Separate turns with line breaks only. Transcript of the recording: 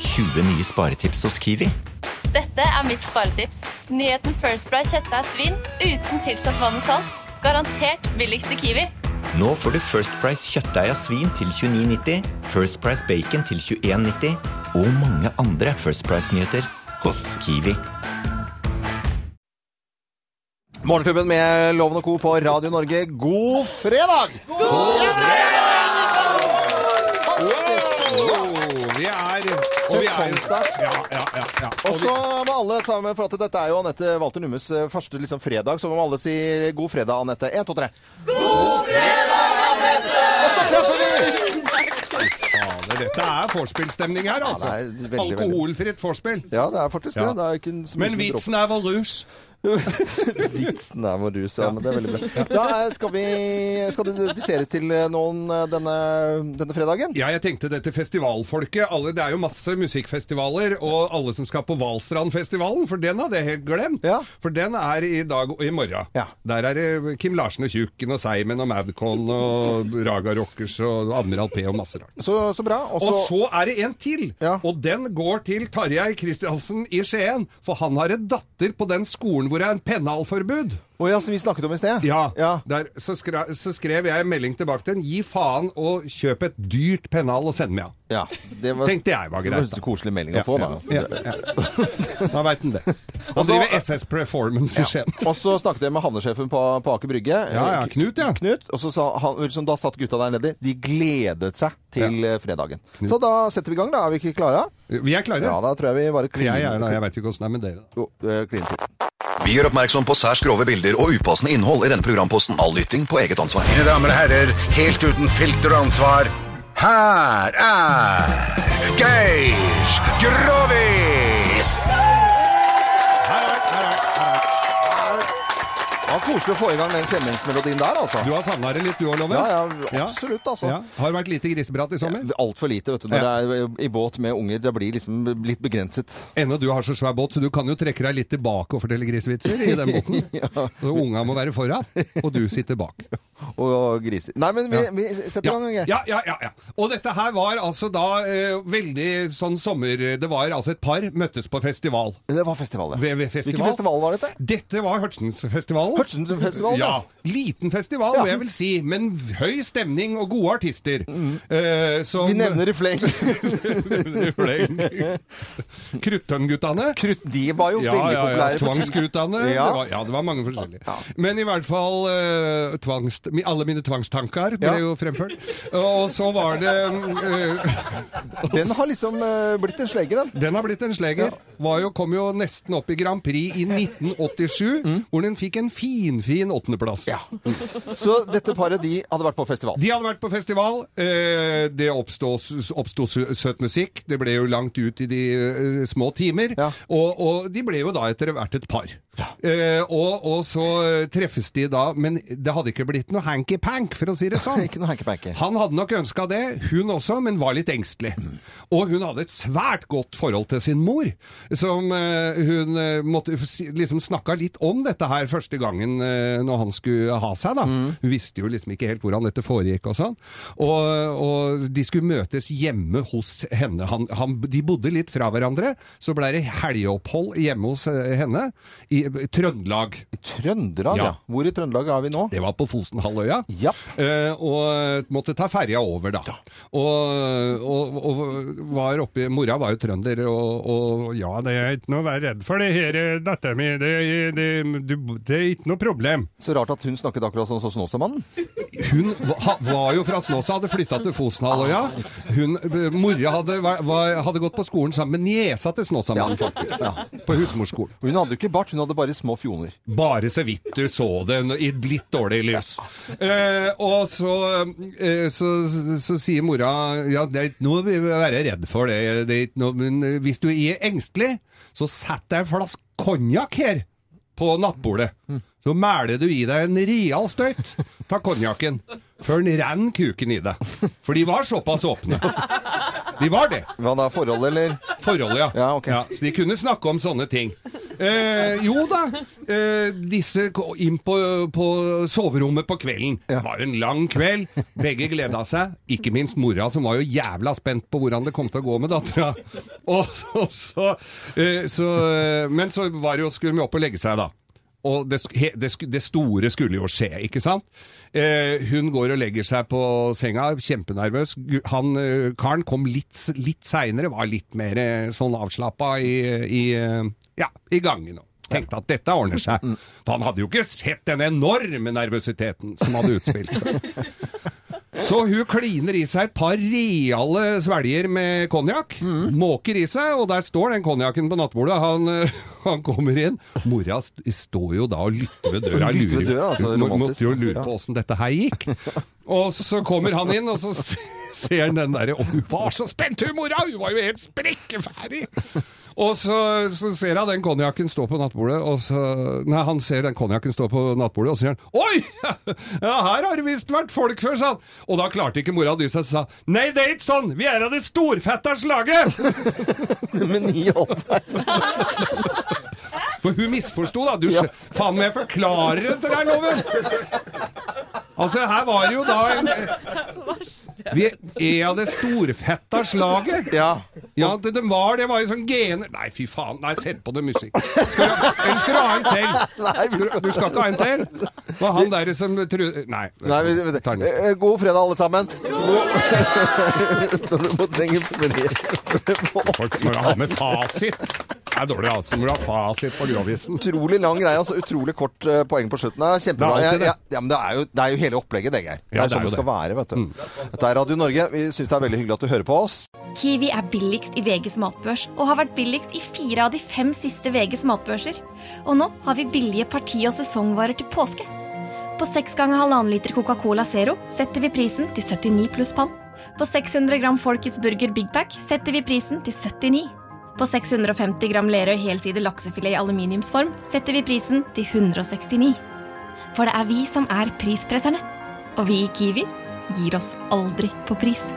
20 nye sparetips hos Kiwi.
Dette er mitt sparetips. Nyheten First Price kjøttdeig svin uten tilsatt vann og salt. Garantert billigst i Kiwi.
Nå får du First Price kjøttdeig av svin til 29,90, First Price bacon til 21,90 og mange andre First Price-nyheter hos Kiwi.
Morgenklubben med Loven og Co. på Radio Norge, god fredag! God fredag!
Vi er og vi er,
Sesongstart.
ja, ja, ja, ja.
Og
Og vi,
så må alle sammen, for at dette er jo Anette Walter Nummes eh, første liksom, fredag, så må alle si god fredag, Anette. En, to, tre. God fredag, Anette! Og så klapper vi!
fader, dette er vorspielstemning her, altså.
Ja, det er veldig, veldig.
Alkoholfritt vorspiel.
Ja, det er faktisk det.
Ja.
Det er ikke så mye
Men
som dropper.
vitsen er vår rus.
Vitsen er vår rus, ja. Men det er veldig bra. Da er- skal, vi, skal det dediseres til eh, noen eh, denne, denne fredagen?
Ja, jeg tenkte dette festivalfolket. Alle, det er jo masse musikkfestivaler, og alle som skal på Valstrandfestivalen, for den hadde jeg helt glemt.
Ja.
For den er i dag og i morgen.
Ja.
Der er det Kim Larsen og Tjukken og Seimen og Madcon og Raga Rockers og Admiral P og masse rart.
Så, så bra. Og
Og
så
så er det en til,
Ja.
og den går til Tarjei Kristiansen i Skien. For han har en datter på den skolen hvor det er en pennalforbud.
Å ja, som vi snakket om i sted?
Ja.
ja.
Der, så, skre, så skrev jeg en melding tilbake til henne. Gi faen og kjøp et dyrt pennal og send meg av.
Ja, det var,
Tenkte jeg var
det
greit,
en
da.
koselig melding å få, da.
Ja, ja, ja. Da veit han det. Han
Og så-
driver SS Performance i Skien.
Og så snakket jeg med havnesjefen på, på Aker Brygge. Eh,
Ja, ja, Knut, ja.
Knut, og så sa han, som da satt gutta der nede. De gledet seg til eh, fredagen. Så da setter vi i gang, da. Er vi ikke klare?
Vi er klare.
Ja, da tror jeg vi bare kliner.
jeg er da, jeg veit ikke åssen det er med dere.
Jo, eh, kliner til.
Vi gjør oppmerksom på særs grove bilder og upassende innhold i denne programposten. All lytting på eget ansvar.
Mine damer og herrer, helt uten filter og ansvar, her er Geir Grovis!
Her er, her er, her er.
Det var koselig å få i gang den kjenningsmelodien der, altså.
Du har savna det litt, du òg, Loven?
Ja, ja, absolutt, altså.
Ja. Har det vært lite griseprat i sommer?
Altfor lite, vet du. Når
Ja.
det er i båt med unger. Det blir liksom litt begrenset.
Ennå du har så svær båt, så du kan jo trekke deg litt tilbake og fortelle grisevitser i den båten. Så unga må være foran, og du sitter bak.
Og, og griser. Nei, men vi,
Ja.
vi setter i gang, Geir.
Ja, ja, ja, ja. Og dette her var altså da eh, veldig sånn sommer... Det var altså et par møttes på festival.
Det var festivalet.
Ved- ved festival.
Hvilken festival var dette?
Dette var Hørtensfestivalen.
Hørtensfestivalen, ja.
ja. Liten festival,
Ja.
vil jeg vil si, men høy stemning og gode artister. Eh, som,
Mm. Vi nevner i fleng.
Kruttønn-guttene.
Krutt, de var jo veldig populære. for tiden.
Tvangsguttene.
Ja.
Det, var- ja, det var mange forskjellige.
Ja.
Men i hvert fall eh, tvangs, mi- Alle mine tvangstanker ble
Ja.
jo fremført. Og så var det eh,
Den har liksom eh, blitt en slegge, den.
Den har blitt en sleger. Var jo, kom jo nesten opp i Grand Prix i 1987, hvor den fikk en finfin åttendeplass.
Mm. Ja. Så dette paret, de hadde vært på festival.
De hadde vært på festival. eh, Det oppstod, oppstod sø- søt musikk. Det ble jo langt ut i de eh, små timer.
Ja.
Og, og de ble jo da etter hvert et par. Eh, Og, og så eh, treffes de da, men det hadde ikke blitt noe hanky-pank, for å si det sånn.
Ikke noe hanky-panky.
Han hadde nok ønska det, hun også, men var litt engstelig. Og hun hadde et svært godt forhold til sin mor, som eh, hun eh, måtte si- liksom snakka litt om dette her første gangen eh, når han skulle ha seg, da. Hun visste jo liksom ikke helt hvordan dette foregikk og sånn. Og, og de skulle møtes hjemme hos henne. Han, han, de bodde litt fra hverandre, så blei det helgeopphold hjemme hos eh, henne i Trøndelag.
I Trøndelag, ja.
Ja.
Hvor i Trøndelag er vi nå?
Det var på Fosenhalvøya.
Ja.
Eh, og måtte ta ferja over, da. Og, og, og var oppe Mora var jo trønder, og, og ja, det er ikke noe å være redd for, det her, eh, datteren min. Det, det, du- det er ikke noe problem.
Så rart at hun snakket akkurat sånn som Snåsamannen.
Hun va- ha- var jo fra Snåsa, hadde flytta til Fosenhalvøya. Hun, eh, Mora hadde, var, var, hadde gått på skolen sammen med niesa til Snåsamannen, faktisk. På husmorskolen.
Hun hadde jo ikke bart, hun hadde bare små fjoner.
Bare så vidt du så det n- i litt dårlig lys. Eh, og så, eh, så, så, så sier mora Ja, det er ikke noe vi vil være redd for, det, det er ikke noe, men eh, hvis du er engstelig, så sett deg en flaske konjakk her på nattbordet. Så mæler du i deg en real støyt av konjakken før den renner kuken i deg. For de var såpass åpne. De var det
Hva da, forhold eller
forholdet, ja.
Ja, ok.
Så de kunne snakke om sånne ting. Eh, jo da, eh, disse ko- inn på, på soverommet på kvelden. Det var en lang kveld. Begge gleda seg. Ikke minst mora, som var jo jævla spent på hvordan det kom til å gå med dattera. Og, så- så, eh, så, eh, men så var det jo, skulle de opp og legge seg, da. Og det, sk- he, det, sk- det store skulle jo skje, ikke sant? Eh, hun går og legger seg på senga, kjempenervøs. Gu- Han, eh, karen kom litt, s- litt seinere, var litt mer eh, sånn avslappa i, i, eh, ja, i gangen. og Tenkte at dette ordner seg. For han hadde jo ikke sett den enorme nervøsiteten som hadde utspilt seg. Så hun kliner i seg et par reale svelger med konjakk. Måker i seg, og der står den konjakken på nattbordet. Han, eh, han kommer inn. Mora st står jo da og lytter ved døra.
Lytter ved
Lurer jo-
døra, altså,
Må-
romantisk.
Måtte jo lure
Ja.
på åssen dette her gikk. Og så kommer han inn, og så s- ser han den derre Å, hun var så spent, hun mora! Hun var jo helt sprekkeferdig! Og så, så ser han den konjakken stå på nattbordet, og så Nei, han ser den konjakken stå på nattbordet, og så sier han Oi! Ja, her har det visst vært folk før, sa han. Og da klarte ikke mora å dy seg, så sa han, Nei, det er ikke sånn! Vi er av det storfetters laget!
Men i all verden
For hun misforsto, da. Du, skjø- Faen om jeg forklarer det til deg, Loven! Altså, her var det jo da en Vi er av det storfetta slaget.
Ja.
Ja, det, det var det. var jo sånn gener Nei, fy faen. Nei, sett på det musikk. Skal du, eller skal du ha en til?
Nei, vi
Du skal ikke ha en til? Var han der som tru... Nei.
Nei, vi, vi,
tar den.
eh, god fredag, alle sammen. God... du må trenge flere
Folk må jo ha med fasit. Det er dårlig, altså. Må du ha fasit på grovisen.
Utrolig lang greie, altså. Utrolig kort eh, poeng på slutten. Det er kjempebra.
Det er
Ja,
alltid det.
ja, ja, men det er, jo, det er jo hele opplegget, det, Geir. Det er
Ja,
sånn
det
det
er jo
skal være, vet du. Dette er Radio Norge. Vi syns det er veldig hyggelig at du hører på oss.
Kiwi er billigst i VGs matbørs og har vært billigst i fire av de fem siste VGs matbørser. Og nå har vi billige parti- og sesongvarer til påske. På 6 ganger 1,5 liter Coca-Cola Zero setter vi prisen til 79 pluss pann. På 600 gram Folkets Burger Big Pack setter vi prisen til 79. På 650 gram Lerøy helside laksefilet i aluminiumsform setter vi prisen til 169. For det er vi som er prispresserne. Og vi i Kiwi gir oss aldri på pris.